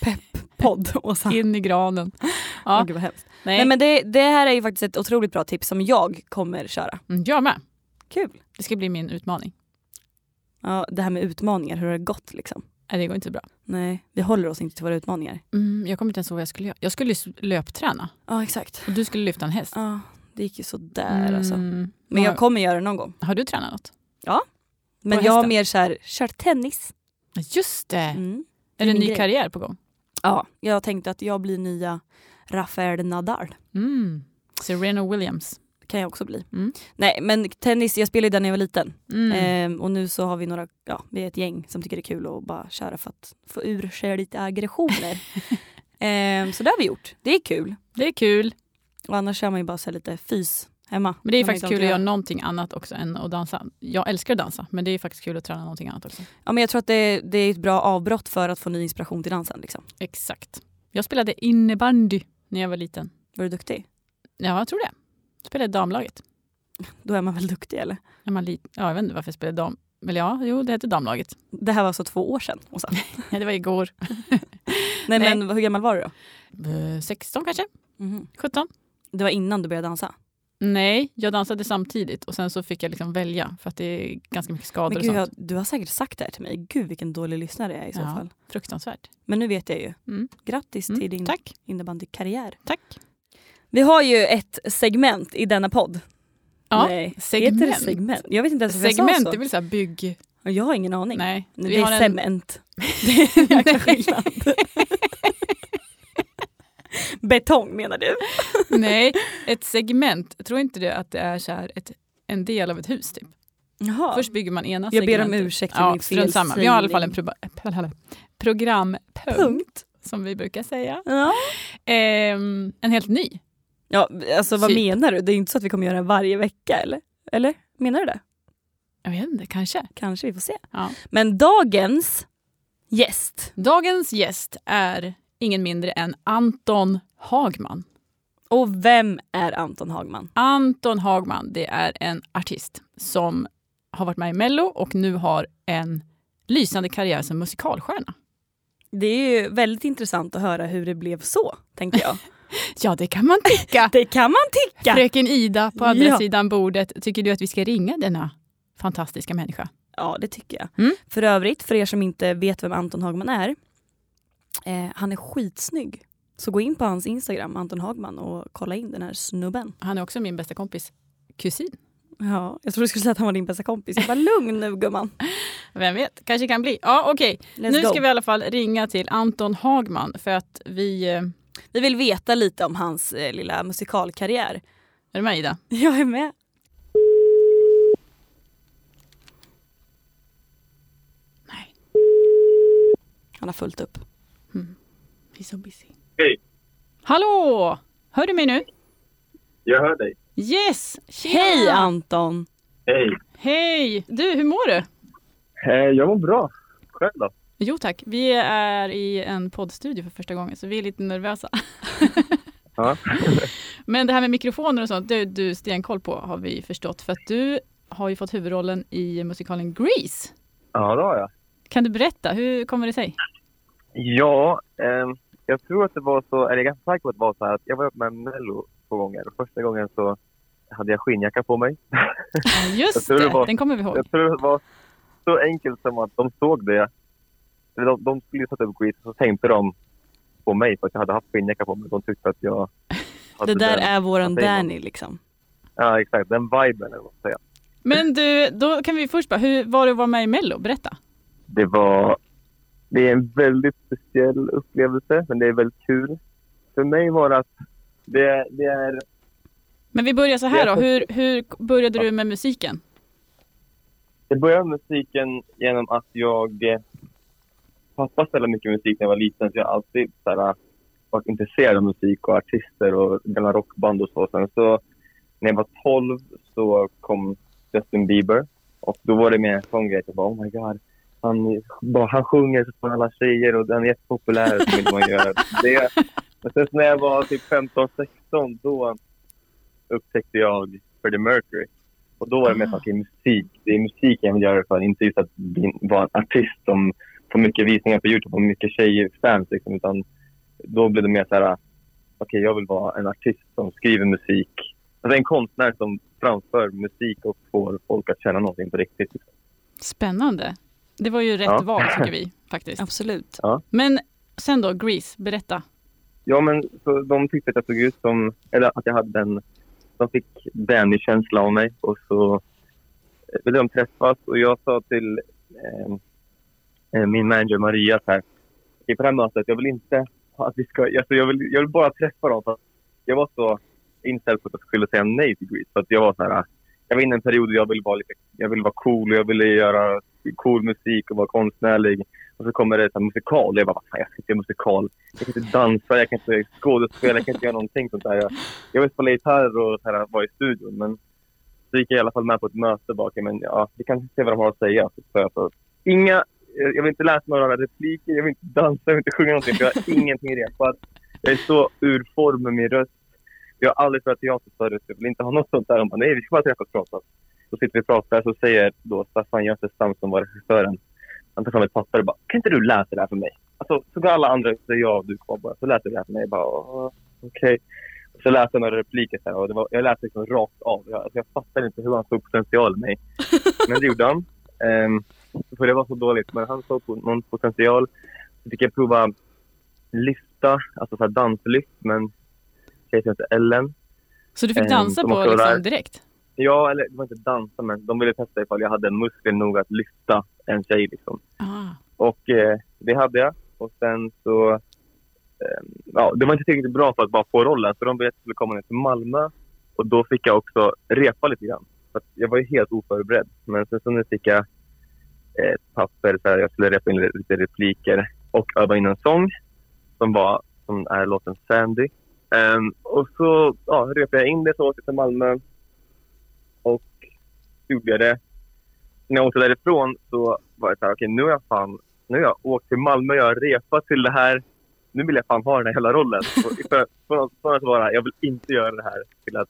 C: Pepp-podd, Åsa.
B: in i granen.
C: Åh,
B: Ja,
C: Gud, vad hemskt.
B: Ah. nej.
C: Nej men det, det här är ju faktiskt ett otroligt bra tips som jag kommer köra.
B: Mm, Jag med.
C: Kul.
B: Det ska bli min utmaning.
C: Ja, det här med utmaningar, hur har det gått liksom?
B: Nej, det går inte så bra.
C: Nej, vi håller oss inte till våra utmaningar.
B: Mm, jag kommer inte ens ihåg vad jag skulle göra. Jag skulle s- löpträna
C: Ja, exakt.
B: och du skulle lyfta en häst.
C: Ja, det gick ju sådär alltså.
B: Mm.
C: Men jag
B: Har-
C: kommer göra det någon gång.
B: Har du tränat något?
C: Men
B: På
C: jag har
B: hästen?
C: mer så här, kört tennis.
B: Just det!
C: Mm.
B: är det en
C: min
B: ny
C: grej.
B: karriär på gång?
C: Ja, jag tänkte att jag blir nya Rafael Nadal.
B: Mm. Serena Williams.
C: Kan jag också bli.
B: Mm.
C: Nej men tennis, jag spelade ju den när jag var liten.
B: Mm.
C: Ehm, och nu så har vi några, ja vi är ett gäng som tycker det är kul att bara köra för att få ur sig lite aggressioner. Ehm, så det har vi gjort. Det är kul.
B: Det är kul.
C: Och annars kör man ju bara så här lite fys hemma.
B: Men det är
C: Om
B: faktiskt
C: man inte
B: kul att
C: orkar
B: göra någonting annat också än att dansa. Jag älskar att dansa, men det är faktiskt kul att träna någonting annat också.
C: Ja men jag tror att det, det är ett bra avbrott för att få ny inspiration till dansen liksom.
B: Exakt. Jag spelade innebandy när jag var liten.
C: Var du duktig?
B: Ja, jag tror det. Jag spelade i damlaget.
C: Då är man väl duktig eller?
B: När man lit- ja, jag vet inte varför jag spelade dam... Eller ja, jo, det hette damlaget.
C: Det här var alltså två år sedan Åsa. Nej,
B: Nej, det var igår. Nej. Mhm.
C: men hur gammal var du då?
B: Eh, 16 kanske? 17?
C: Det var innan du började dansa?
B: Nej, jag dansade samtidigt och sen så fick jag liksom välja för att det är ganska mycket skador
C: Men gud,
B: och
C: jag,
B: sånt.
C: du har säkert sagt det här till mig. Gud vilken dålig lyssnare jag är i så
B: Ja.
C: fall.
B: Fruktansvärt.
C: Men nu vet jag ju.
B: Mm.
C: Grattis till
B: Mm.
C: din
B: Tack,
C: innebandykarriär.
B: tack.
C: Vi har ju ett segment i denna podd.
B: Ja,
C: Nej,
B: segment.
C: heter det segment? Jag vet inte ens varför jag
B: Segment,
C: sa
B: det
C: så.
B: vill säga bygg...
C: Jag har ingen aning.
B: Nej.
C: Det
B: vi
C: är
B: har en-
C: cement. Det är en jäkla skillnad. Betong menar du?
B: Nej, ett segment. Jag tror inte det att det är så här ett, en del av ett hus. Typ.
C: Jaha.
B: Först bygger man ena
C: jag ber om
B: segmentet.
C: ursäkt för
B: Ja,
C: min
B: strunt samma. Vi har i alla fall en pro- programpunkt,
C: punkt.
B: som vi brukar säga.
C: Ja.
B: Ehm, en helt ny.
C: ja, alltså vad
B: Typ.
C: menar du? Det är inte så att vi kommer göra det varje vecka eller? Eller? Menar du det?
B: Jag vet inte, kanske.
C: Kanske, vi får se.
B: Ja.
C: Men dagens gäst.
B: Dagens gäst är ingen mindre än Anton Hagman.
C: Och vem är Anton Hagman?
B: Anton Hagman, det är en artist som har varit med i Mello och nu har en lysande karriär som musikalstjärna.
C: Det är ju väldigt intressant att höra hur det blev så, tänker jag.
B: Ja, det kan man tycka.
C: Det kan man tycka!
B: Fröken Ida på andra
C: Ja.
B: sidan bordet, tycker du att vi ska ringa denna fantastiska människa?
C: Ja, det tycker jag.
B: Mm.
C: För övrigt, för er som inte vet vem Anton Hagman är, eh, han är skitsnygg. Så gå in på hans Instagram, Anton Hagman, och kolla in den här snubben.
B: Han är också min bästa kompis kusin.
C: Ja, jag trodde du skulle säga att han var din bästa kompis. Jag bara, lugn nu gumman.
B: Vem vet, kanske kan bli. Ja, okej.
C: Let's
B: Nu
C: go.
B: ska vi i alla fall ringa till Anton Hagman för att vi... eh,
C: Vi vill veta lite om hans eh, lilla musikalkarriär.
B: Är du med Ida?
C: Jag är med.
B: Nej.
C: Han har fullt upp.
B: He's so busy.
A: Hej.
B: Hallå! Hör du mig nu?
A: Jag hör dig.
B: Yes! Tjena!
C: Hej Anton!
A: Hej.
B: Hej! Du, hur mår du?
A: Eh, jag mår bra. Själv då?
B: Jo tack, vi är i en poddstudio för första gången så vi är lite nervösa.
A: Ja.
B: Men det här med mikrofoner och sånt, det har du stenkoll på har vi förstått för att du har ju fått huvudrollen i musikalen Grease.
A: Ja, det har jag.
B: Kan du berätta, hur kommer det sig?
A: Ja, ehm, jag tror att det var så, eller jag är ganska säker på att det var så här att jag var med i Mello två gånger. Och Första gången så hade jag skinnjacka på mig.
B: Ja, Just
A: tror det
B: det,
A: var-
B: den kommer vi ihåg.
A: Jag tror det var så enkelt som att de såg det. Eller de, de skulle sätta upp quiz och så tänkte de på mig för att jag hade haft skinnjacka på mig. De tyckte att jag...
C: Det
A: hade
C: där
A: den-
C: är våran
A: vad säger man?
C: Danny liksom.
A: Ja, exakt. Den viben eller vad man ska säga.
B: Men du, då kan vi först bara, hur var det att vara med i Mello? Berätta.
A: det var... Det är en väldigt speciell upplevelse, men det är väldigt kul. För mig var det att det, det är...
B: Men vi börjar så här då, hur, hur började du med musiken?
A: Det började med musiken genom att jag... eh, Pappa spelade mycket musik när jag var liten, så jag har alltid så här, varit intresserad av musik och artister och gamla rockband och så. Sen så när jag var 12 så kom Justin Bieber och då var det mer en sån grej. att Jag bara, oh my god. Han, bara, han sjunger så får alla tjejer och han är jättepopulär. Så vill man göra det. Men sen när jag var typ 15-16 då upptäckte jag Freddie Mercury. Och då var det mer så att det är musik. Det är musik jag vill göra för inte just att bli- vara en artist som får mycket visningar på Youtube och mycket tjejer fans liksom, utan då blev det mer så här okej jag vill vara en artist som skriver musik. Alltså en konstnär som framför musik och får folk att känna någonting på riktigt. Liksom.
B: Spännande. Det var ju rätt
A: Ja.
B: val tycker vi faktiskt.
C: Absolut.
B: Men sen då, Grease, berätta.
A: Ja, men så de tyckte att jag såg ut som... Eller att jag hade den... De fick Danny-känsla av mig och så eh, ville de träffas och jag sa till eh, eh, min manager Maria så här, "Okej, på det här mötet, jag vill inte ha att vi ska... Alltså, jag, vill, jag vill bara träffa dem för att jag var så inställd på att jag skulle säga nej till Grease. För att jag var så här, ah, jag var inne i en period där jag ville vara, lite, jag ville vara cool och jag ville göra cool musik och vara konstnärlig. Och så kommer det så här, musikal. Jag bara, "Vad fan, jag ska inte göra musikal. Jag kan inte dansa, jag kan inte skådespela, jag kan inte göra någonting sånt där. Jag, jag vill spela gitarr och så här, vara i studion. Men så gick jag i alla fall med på ett möte bak. Men ja, vi kan se vad de har att säga. Så sa jag så, inga, eh, jag vill inte läsa några repliker, jag vill inte dansa, jag vill inte sjunga någonting. För jag har ingenting repat. Jag är så ur form med min röst. Jag har aldrig spelat teater förut. Jag vill inte ha något sånt där. De bara, nej, vi ska bara träffas och prata. Så sitter vi och pratar. Så säger då Staffan Götestam som var regissören. Han tar fram ett papper och bara, kan inte du läsa det här för mig? alltså, så går alla andra och säger ja, du kvar bara. Så läste jag det här för mig. Jag bara, "Åh, okej. Och Så läste jag några repliker så här, och det var, jag läste liksom rakt av. Jag, alltså, jag fattade inte hur han såg potential i mig. Men det gjorde han. Ehm, för det var så dåligt. Men han såg på någon potential. Så fick jag prova lyfta, alltså så här danslyft, men tjejen hette Ellen.
B: Så du fick
A: Ehm,
B: dansa
A: de
B: på
A: måste vara
B: liksom
A: där.
B: direkt?
A: Ja, eller det var inte dansa, men de ville testa ifall jag hade muskler nog att lyfta en tjej liksom.
B: Ah.
A: Och eh, det hade jag. Och sen så... Eh, ja, det var inte tillräckligt bra för att bara få rollen, så de ville att jag skulle komma ner till Malmö. Och då fick jag också repa lite grann. För att jag var ju helt oförberedd. Men sen så nu fick jag eh, ett papper så här, jag skulle repa in lite- lite repliker och öva in en sång som, var, som är låten Sandy. Ehm, och så ja, repade jag in det, så åkte jag till Malmö och gjorde jag det. När jag åkte därifrån så var jag så här, okej nu har jag fan nu har jag åkt till Malmö, jag har repat till det här. nu vill jag fan ha den här hela rollen. Och För, för, för att vara, jag vill inte göra det här till att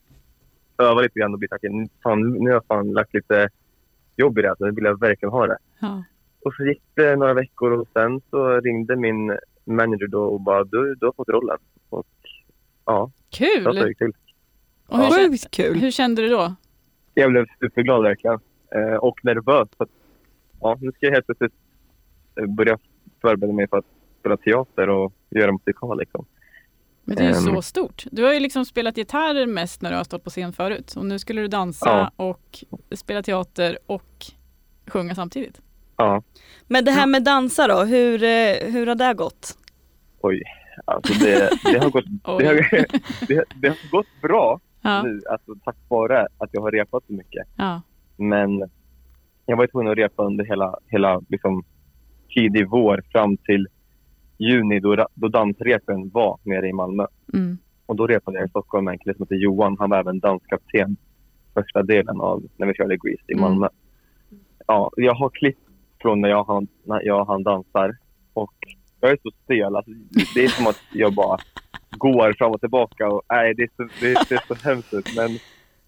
A: öva lite grann och bli taggad. Nu, fan, nu har jag fan lagt lite jobb i det här, så nu vill jag verkligen ha det.
B: Ja.
A: Och så gick det några veckor och sen så ringde min manager då och bara du, du har fått rollen. Och ja, det var så det
B: Kul!
A: gick till.
B: Och hur, kän-
E: Sjukt kul.
B: hur kände du då?
A: Jag blev superglad verkligen. Eh, och nervös. För att, ja, nu ska jag helt plötsligt eh, börja förbereda mig för att spela teater och göra musikal. Liksom.
B: Men det är ju
A: Ehm.
B: så stort. Du har ju liksom spelat gitarr mest när du har stått på scen förut. Och nu skulle du dansa och spela teater och sjunga samtidigt.
A: Ja,
C: Men det här med dansa då, hur, eh, hur har det gått?
A: oj. Alltså det, det, har gått, det, har, det, det har gått bra
B: Ja,
A: nu, alltså, tack vare att jag har repat så mycket.
B: ja,
A: Men jag var ju tvungen att repa under hela, hela liksom, tidig vår fram till juni då, ra- då dansrepen var nere i Malmö.
B: mm,
A: Och då repade jag i Stockholm med en kille som heter Johan. Han var även danskapten första delen av när vi körde Grease i
B: Mm.
A: Malmö. Ja, jag har klipp från när jag han, när jag han dansar. Och jag är så stel. Alltså, det är som att jag bara går fram och tillbaka. Och, nej, det är så, det, är- det är så hemskt ut. Men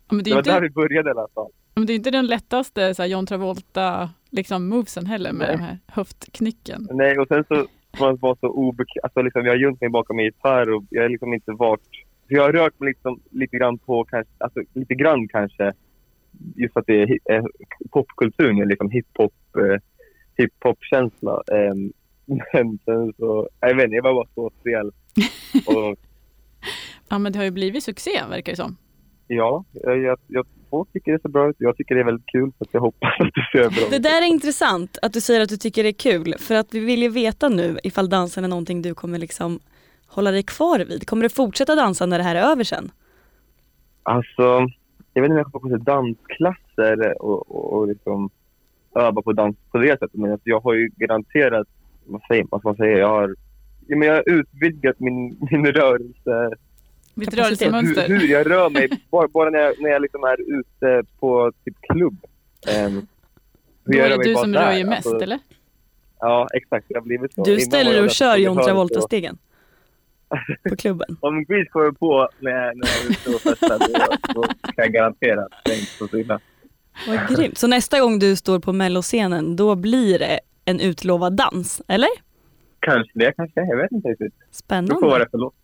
B: Ja, Men det
A: det
B: är
A: var där
B: inte,
A: vi började i alla fall.
B: men det är inte den lättaste så här, John Travolta liksom movesen heller med
A: Nej.
B: den här höftknycken.
A: Nej, och sen så man var så obekväm. Alltså, liksom, jag har gömt mig bakom min gitarr och jag har liksom inte varit... För jag har rört mig liksom, lite grann på kanske, alltså, lite grann kanske, just för att det är hi- eh, popkulturen, är liksom hiphop, eh, hiphop-känsla. Ehm, men sen så, jag vet inte, jag var bara så stel. Och
B: Ja men det har ju blivit succé verkar det som.
A: ja, jag, jag, jag folk tycker det ser bra ut. Jag tycker det är väldigt kul så att jag hoppas att det ser bra
C: Det
A: ut.
C: där är intressant att du säger att du tycker det är kul för att vi vill ju veta nu ifall dansen är någonting du kommer liksom hålla dig kvar vid. Kommer du fortsätta dansa när det här är över sen?
A: Alltså, jag vet inte om jag kommer gå till dansklasser och, och, och liksom öva på dans på det sättet. Men alltså, jag har ju garanterat, vad säger man, vad ska man säga, jag har, ja, men jag har utvidgat min, min rörelse.
B: Mitt
C: Kapacitet.
A: Hur,
B: rörelsemönster.
A: hur jag rör mig, bara, bara när jag, när jag liksom är ute på typ klubb. Ehm, hur
B: Då
A: jag
B: är det
A: mig
B: du
A: bara
B: som
A: där.
B: rör ju mest
A: Alltså,
B: eller?
A: Ja, exakt. Jag har blivit så.
C: Du
A: Innan var
C: ställer
A: jag
C: dig och
A: där
C: kör
A: på
C: John
A: gitarr och-
C: Travolta-stegen på klubben.
A: Om Grease kommer på när jag, när jag är ute och festar, då, då kan jag garantera att det är inte så illa.
C: Vad grymt. Så nästa gång du står på melloscenen då blir det en utlovad dans, eller?
A: Kanske det, kanske. Jag vet inte riktigt. Det beror på vad
C: Spännande.
A: det är för låt.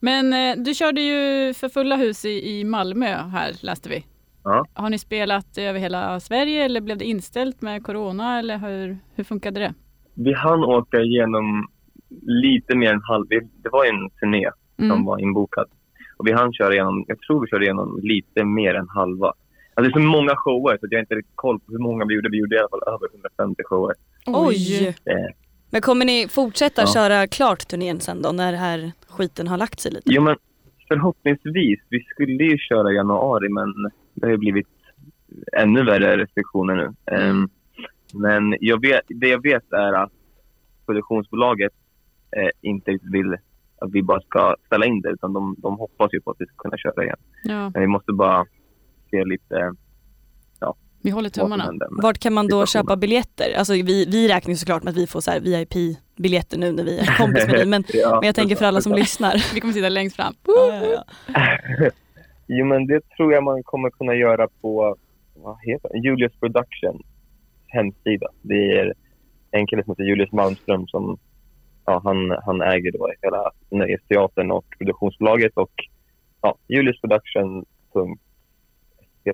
B: Men eh, du körde ju för fulla hus i, i Malmö här läste vi.
A: Ja.
B: Har ni spelat över hela Sverige eller blev det inställt med corona eller hur, hur funkade det?
A: Vi hann åka igenom lite mer än halv... vi- Det var ju en turné
B: Mm.
A: som var inbokad. Och vi hann köra igenom, jag tror vi körde igenom lite mer än halva. Alltså det är så många shower så att jag har inte riktigt koll på hur många vi gjorde. Vi gjorde i alla fall över 150 shower.
C: Oj!
A: Eh,
C: Men kommer ni fortsätta
A: Ja.
C: köra klart turnén sen då när det här skiten har lagt sig lite?
A: Jo men förhoppningsvis, vi skulle ju köra i januari men det har ju blivit ännu värre restriktioner nu. Ehm, men jag vet, det jag vet är att produktionsbolaget eh, inte riktigt vill att vi bara ska ställa in det utan de, de hoppas ju på att vi ska kunna köra igen.
B: Ja,
A: Men vi måste bara se lite
B: vi håller
A: vad som
B: tummarna.
A: händer. Men-
C: Vart kan man då
A: Situationen.
C: köpa biljetter? Alltså vi, vi räknar ju såklart med att vi får så här VIP-biljetter nu när vi är kompis med dig men,
A: Ja,
C: men jag tänker för alla som lyssnar.
B: Vi kommer sitta längst fram.
A: Jo, men det tror jag man kommer kunna göra på vad heter det? Julius Production hemsida. Det är en kille som heter Julius Malmström som ja, han, han äger då hela Nöjesteatern och produktionsbolaget och ja, juliusproduction.se.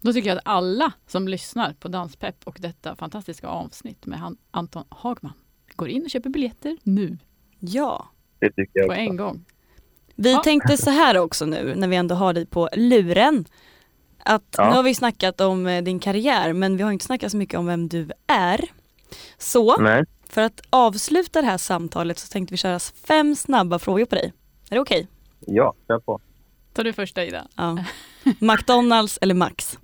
B: Då tycker jag att alla som lyssnar på Danspepp och detta fantastiska avsnitt med han, Anton Hagman går in och köper biljetter nu
C: Ja.
A: Det tycker jag
B: på en
A: också.
B: gång.
C: Vi
B: Ja.
C: tänkte så här också nu när vi ändå har dig på luren. Att
A: Ja.
C: nu har vi snackat om eh, din karriär men vi har inte snackat så mycket om vem du är. Så
A: Nej,
C: för att avsluta det här samtalet så tänkte vi köra fem snabba frågor på dig. Är det okej?
A: ja, kör på.
B: Ta du första Ida.
C: Ja. McDonalds eller Max?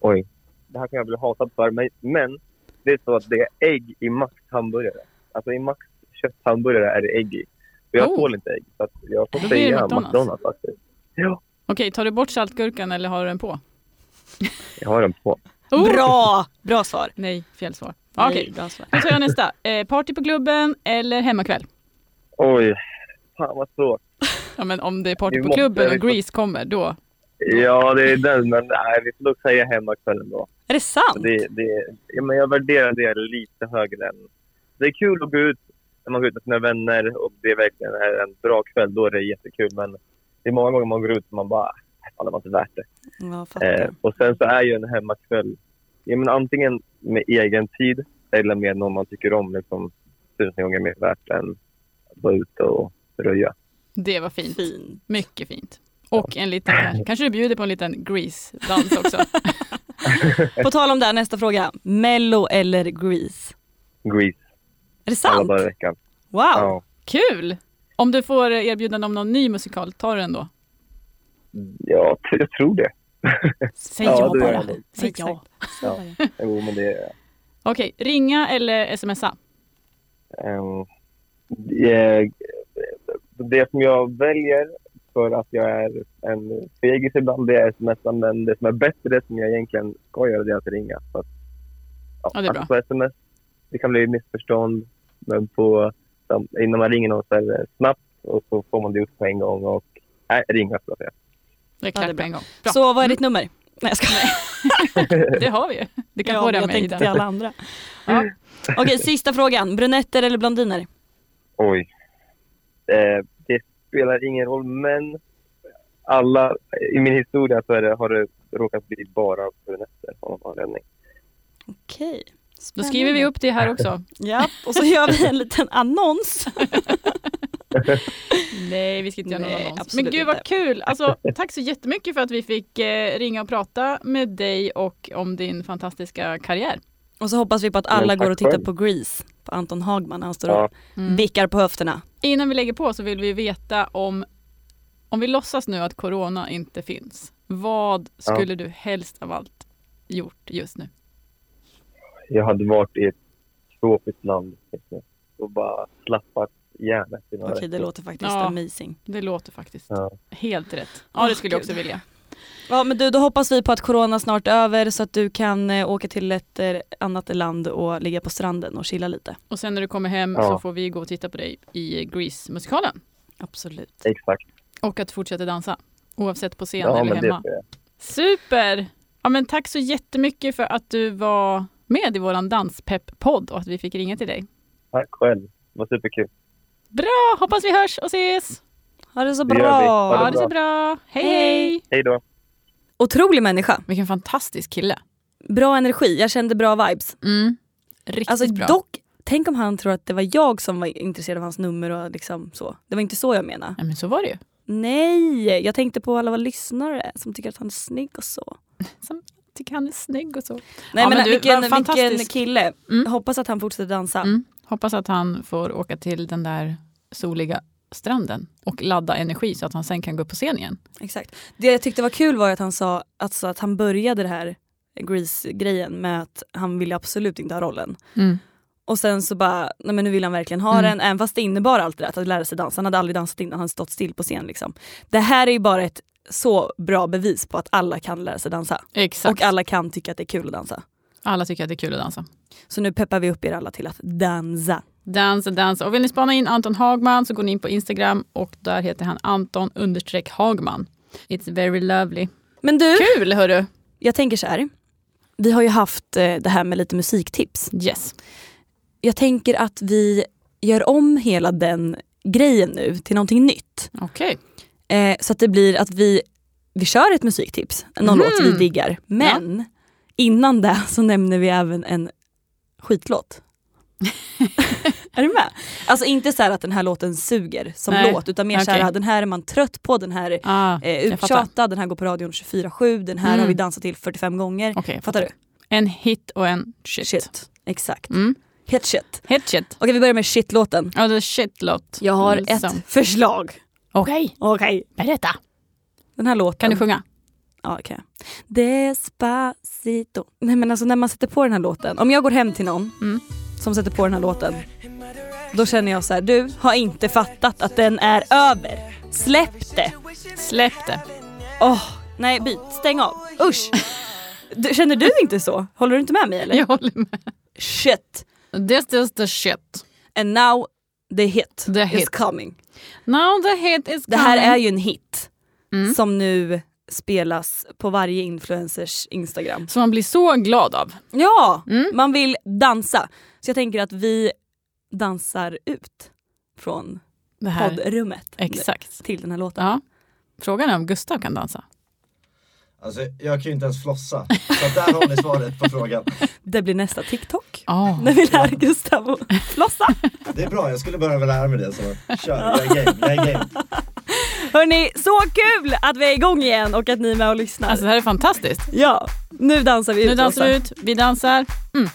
A: Oj. Det här kan jag bli hatad för, men, men det är så att det är ägg i Max hamburgare. Alltså i Max kötthamburgare är det ägg i. Och jag
B: Oh.
A: tål inte ägg, så att jag får
B: Då blir det
A: säga
B: McDonald's.
A: McDonald's. faktiskt. Ja,
B: Okej, tar du bort saltgurkan eller har du den på?
A: jag har den på.
B: Oh!
C: Bra! Bra svar.
B: Nej, fel svar. Okej,
C: Nej, bra svar.
B: då tar jag nästa. Eh, party på klubben eller hemmakväll?
A: Oj, fan vad svårt.
B: Ja, men om det är party
A: Vi
B: på
A: måste-
B: klubben
A: vi
B: och
A: får-
B: Grease kommer, då.
A: Ja, det är den, men nej, vi får nog säga hemmakvällen då.
C: Är det sant?
A: Det, det, ja, men jag värderar det lite högre än... Det är kul att gå ut när man går ut med sina vänner och det är verkligen är en bra kväll. Då är det jättekul. Men det är många gånger man går ut och man bara, "Äh, fan det var inte värt det.
C: Ja,
A: Eh,
C: fattar.
A: och sen så är ju en hemmakväll ja, men antingen med egen tid eller med någon man tycker om liksom, tusen gånger mer värt än att vara ute och röja.
B: Det var fint.
C: Fin.
B: Mycket fint. Och en liten, kanske du bjuder på en liten Grease-dans också.
C: På tal om det, här, nästa fråga. Mello eller Grease?
A: Grease
C: Är det
A: alla
C: sant?
A: dagar i veckan.
C: Wow!
A: Ja.
B: Kul! Om du får erbjudande om någon ny musikal, tar du den då?
A: ja, t- jag tror det.
C: Säg
A: Ja,
C: ja
A: det gör
C: bara.
A: jag nog.
C: Säg
B: Exakt.
C: ja.
A: Ja. Jo, men det
B: Okej, ringa eller smsa?
A: Ehm, det, det som jag väljer för att jag är en fegis ibland, det är sms'an. Men det som är bättre, som jag egentligen ska göra, det är att ringa. Så att,
B: Ja, det är bra.
A: alltså på sms, det kan bli missförstånd. Men på, sam- innan man ringer någon så är det snabbt och så får man det upp på en gång. Och, nej, ringa skulle jag säga.
B: Det är
C: Ja,
B: klart
C: det är
B: på
C: bra.
B: en gång. Bra.
C: Så vad är ditt nummer? Nej jag skojar.
B: Det har vi ju. Du kan
C: Ja,
B: få
C: men
B: det
C: jag
B: med i
C: tänkte till
B: den.
C: alla andra. Ja. Okej, sista frågan. Brunetter eller blondiner?
A: Oj. Eh, det spelar ingen roll, men alla i min historia så är det, har det råkat bli bara brunetter av någon anledning.
C: Okej.
B: Då skriver vi upp det här också.
C: Ja, och så gör vi en liten annons.
B: Nej, vi ska inte göra någon
C: Nej,
B: annons.
C: absolut
B: Men gud vad
C: inte.
B: kul! Alltså, tack så jättemycket för att vi fick eh, ringa och prata med dig och om din fantastiska karriär.
C: Och så hoppas vi på att
A: Men
C: alla
A: tack
C: går och tittar
A: själv.
C: på Grease, på Anton Hagman när han står
A: Ja.
C: och vickar på höfterna.
B: Innan vi lägger på så vill vi veta om, om vi låtsas nu att corona inte finns. Vad
A: Ja.
B: skulle du helst av allt gjort just nu?
A: Jag hade varit i ett tropiskt land just nu och bara slappat hjärnet i några
C: Okej, det
A: veckor.
C: låter faktiskt
B: Ja.
C: amazing.
B: Det låter faktiskt
A: Ja.
B: helt rätt. Ja, det
C: Åh,
B: skulle jag
C: Gud.
B: också vilja.
C: Ja men du, då hoppas vi på att corona snart är över så att du kan eh, åka till ett eh, annat land och ligga på stranden och chilla lite.
B: Och sen när du kommer hem
A: Ja.
B: så får vi gå och titta på dig i Grease-musikalen.
C: Absolut.
A: Exakt.
B: Och att fortsätta dansa, oavsett på scen
A: Ja,
B: eller
A: men det
B: hemma.
A: ska jag.
B: Super! Ja, men tack så jättemycket för att du var med i vår danspepp-podd och att vi fick ringa till dig.
A: Tack själv. Det var superkul.
B: Bra! Hoppas vi hörs och ses!
C: Ha det så
A: Det gör vi.
C: bra!
A: Ha
B: Ha det så bra! Hej, hej!
A: Hej då.
C: Otrolig människa.
B: Vilken fantastisk kille.
C: Bra energi, jag kände bra vibes.
B: Mm. Riktigt
C: Alltså
B: bra.
C: dock, tänk om han tror att det var jag som var intresserad av hans nummer och liksom så. Det var inte så jag menade.
B: Ja, men så var det ju.
C: Nej, jag tänkte på alla våra lyssnare som tycker att han är snygg och så.
B: Tycker han är snygg och så.
C: Nej
B: Ja,
C: men,
B: men du,
C: vilken,
B: vad fantastisk.
C: vilken kille.
B: Mm.
C: Hoppas att han fortsätter dansa.
B: Mm. Hoppas att han får åka till den där soliga stranden och ladda energi så att han sen kan gå upp på scen igen.
C: Exakt. Det jag tyckte var kul var att han sa alltså, att han började det här Grease-grejen med att han ville absolut inte ha rollen. Och sen så bara, nej men nu vill han verkligen ha
B: Mm.
C: den, även fast det innebar allt det där, att lära sig dansa. Han hade aldrig dansat innan, han hade stått still på scen. Liksom. Det här är ju bara ett så bra bevis på att alla kan lära sig dansa.
B: Exakt.
C: Och alla kan tycka att det är kul att dansa.
B: alla tycker att det är kul att dansa.
C: Så nu peppar vi upp er alla till att dansa.
B: Dansa, dansa. Och vill ni spana in Anton Hagman så går ni in på Instagram och där heter han Anton understreck Hagman. It's very lovely.
C: Men du,
B: Kul hörru!
C: jag tänker så här. Vi har ju haft eh, det här med lite musiktips.
B: Yes.
C: jag tänker att vi gör om hela den grejen nu till någonting nytt.
B: Okej.
C: Eh, så att det blir att vi, vi kör ett musiktips, någon
B: Mhm.
C: låt vi diggar. Men innan det så nämner vi även en skitlåt. är du med? Alltså inte så här att den här låten suger som
B: Nej.
C: låt utan mer så här
B: Okej.
C: den här är man trött på, den här är
B: Ah,
C: eh,
B: jag fattar.
C: uttjatad, den här går på radion 24-7, den här
B: Mm.
C: har vi dansat till 45 gånger.
B: Okej, jag
C: Fattar du?
B: En hit och en shit.
C: Shit. Exakt.
B: Mm.
C: Hit shit.
B: Hit shit.
C: Okej vi börjar med shitlåten.
B: Ja, det är shitlåt.
C: Jag har
B: Mm,
C: ett
B: som-
C: förslag.
B: Okej,
C: Okej.
B: berätta.
C: Den här låten.
B: Kan du sjunga?
C: Ja, okay. Despacito. Nej men alltså när man sätter på den här låten. Om jag går hem till någon
B: Mm.
C: som sätter på den här låten. Då känner jag så här, du har inte fattat att den är över. Släpp det.
B: Släpp det.
C: Åh, nej byt, stäng av. Usch. Du, känner du inte så? Håller du inte med mig eller?
B: Jag håller med.
C: Shit.
B: This is the shit.
C: And now The hit
B: The
C: is
B: hit.
C: coming.
B: Now the hit is coming.
C: Det här är ju en hit
B: Mm.
C: som nu spelas på varje influencers Instagram.
B: Som man blir så glad av.
C: Ja,
B: Mm.
C: man vill dansa. Så jag tänker att vi dansar ut från
B: Det här.
C: poddrummet nu
B: Exakt.
C: till den här låten.
B: Ja. Frågan är om Gustav kan dansa.
D: Alltså, jag kan ju inte ens flossa. Så att där har ni svaret på frågan.
C: Det blir nästa TikTok.
B: Ja.
C: När vi lär Gustav att flossa.
D: Det är bra, jag skulle behöva lära mig det. Så kör, jag är game. Jag är game.
C: Hörni, så kul att vi är igång igen och att ni är med och lyssnar.
B: Alltså det här är fantastiskt.
C: ja, nu dansar vi ut.
B: Nu dansar
C: Åsa.
B: vi ut, vi dansar. Mm.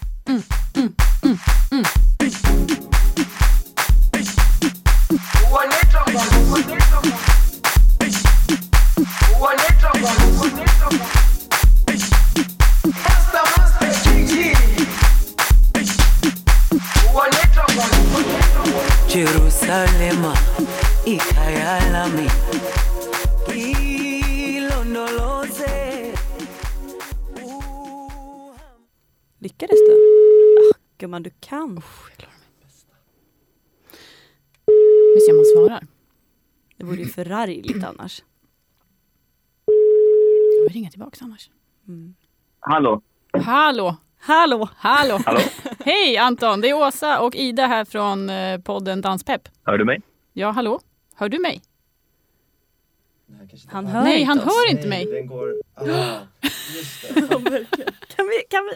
E: Jerusalema ikhaya lami ilondoloze
C: Lyckades du? Ah, Gumman, du kan.
B: Vi ser om han svarar.
C: Det vore ju förargligt
B: Mm.
C: annars.
B: Jag vill ringa tillbaka annars.
A: Hallå?
B: Hallå!
C: Hallå!
B: Hallå!
A: Hallå?
B: Hej Anton, det är Åsa och Ida här från eh, podden Danspepp.
A: Hör du mig?
B: Ja, hallå? Hör du mig?
D: Nej, kanske inte.
C: Han
D: Ah,
C: hör
B: Nej, han
C: inte oss.
B: hör inte mig.
D: Den går... Ah, just det.
C: Kan vi, kan vi?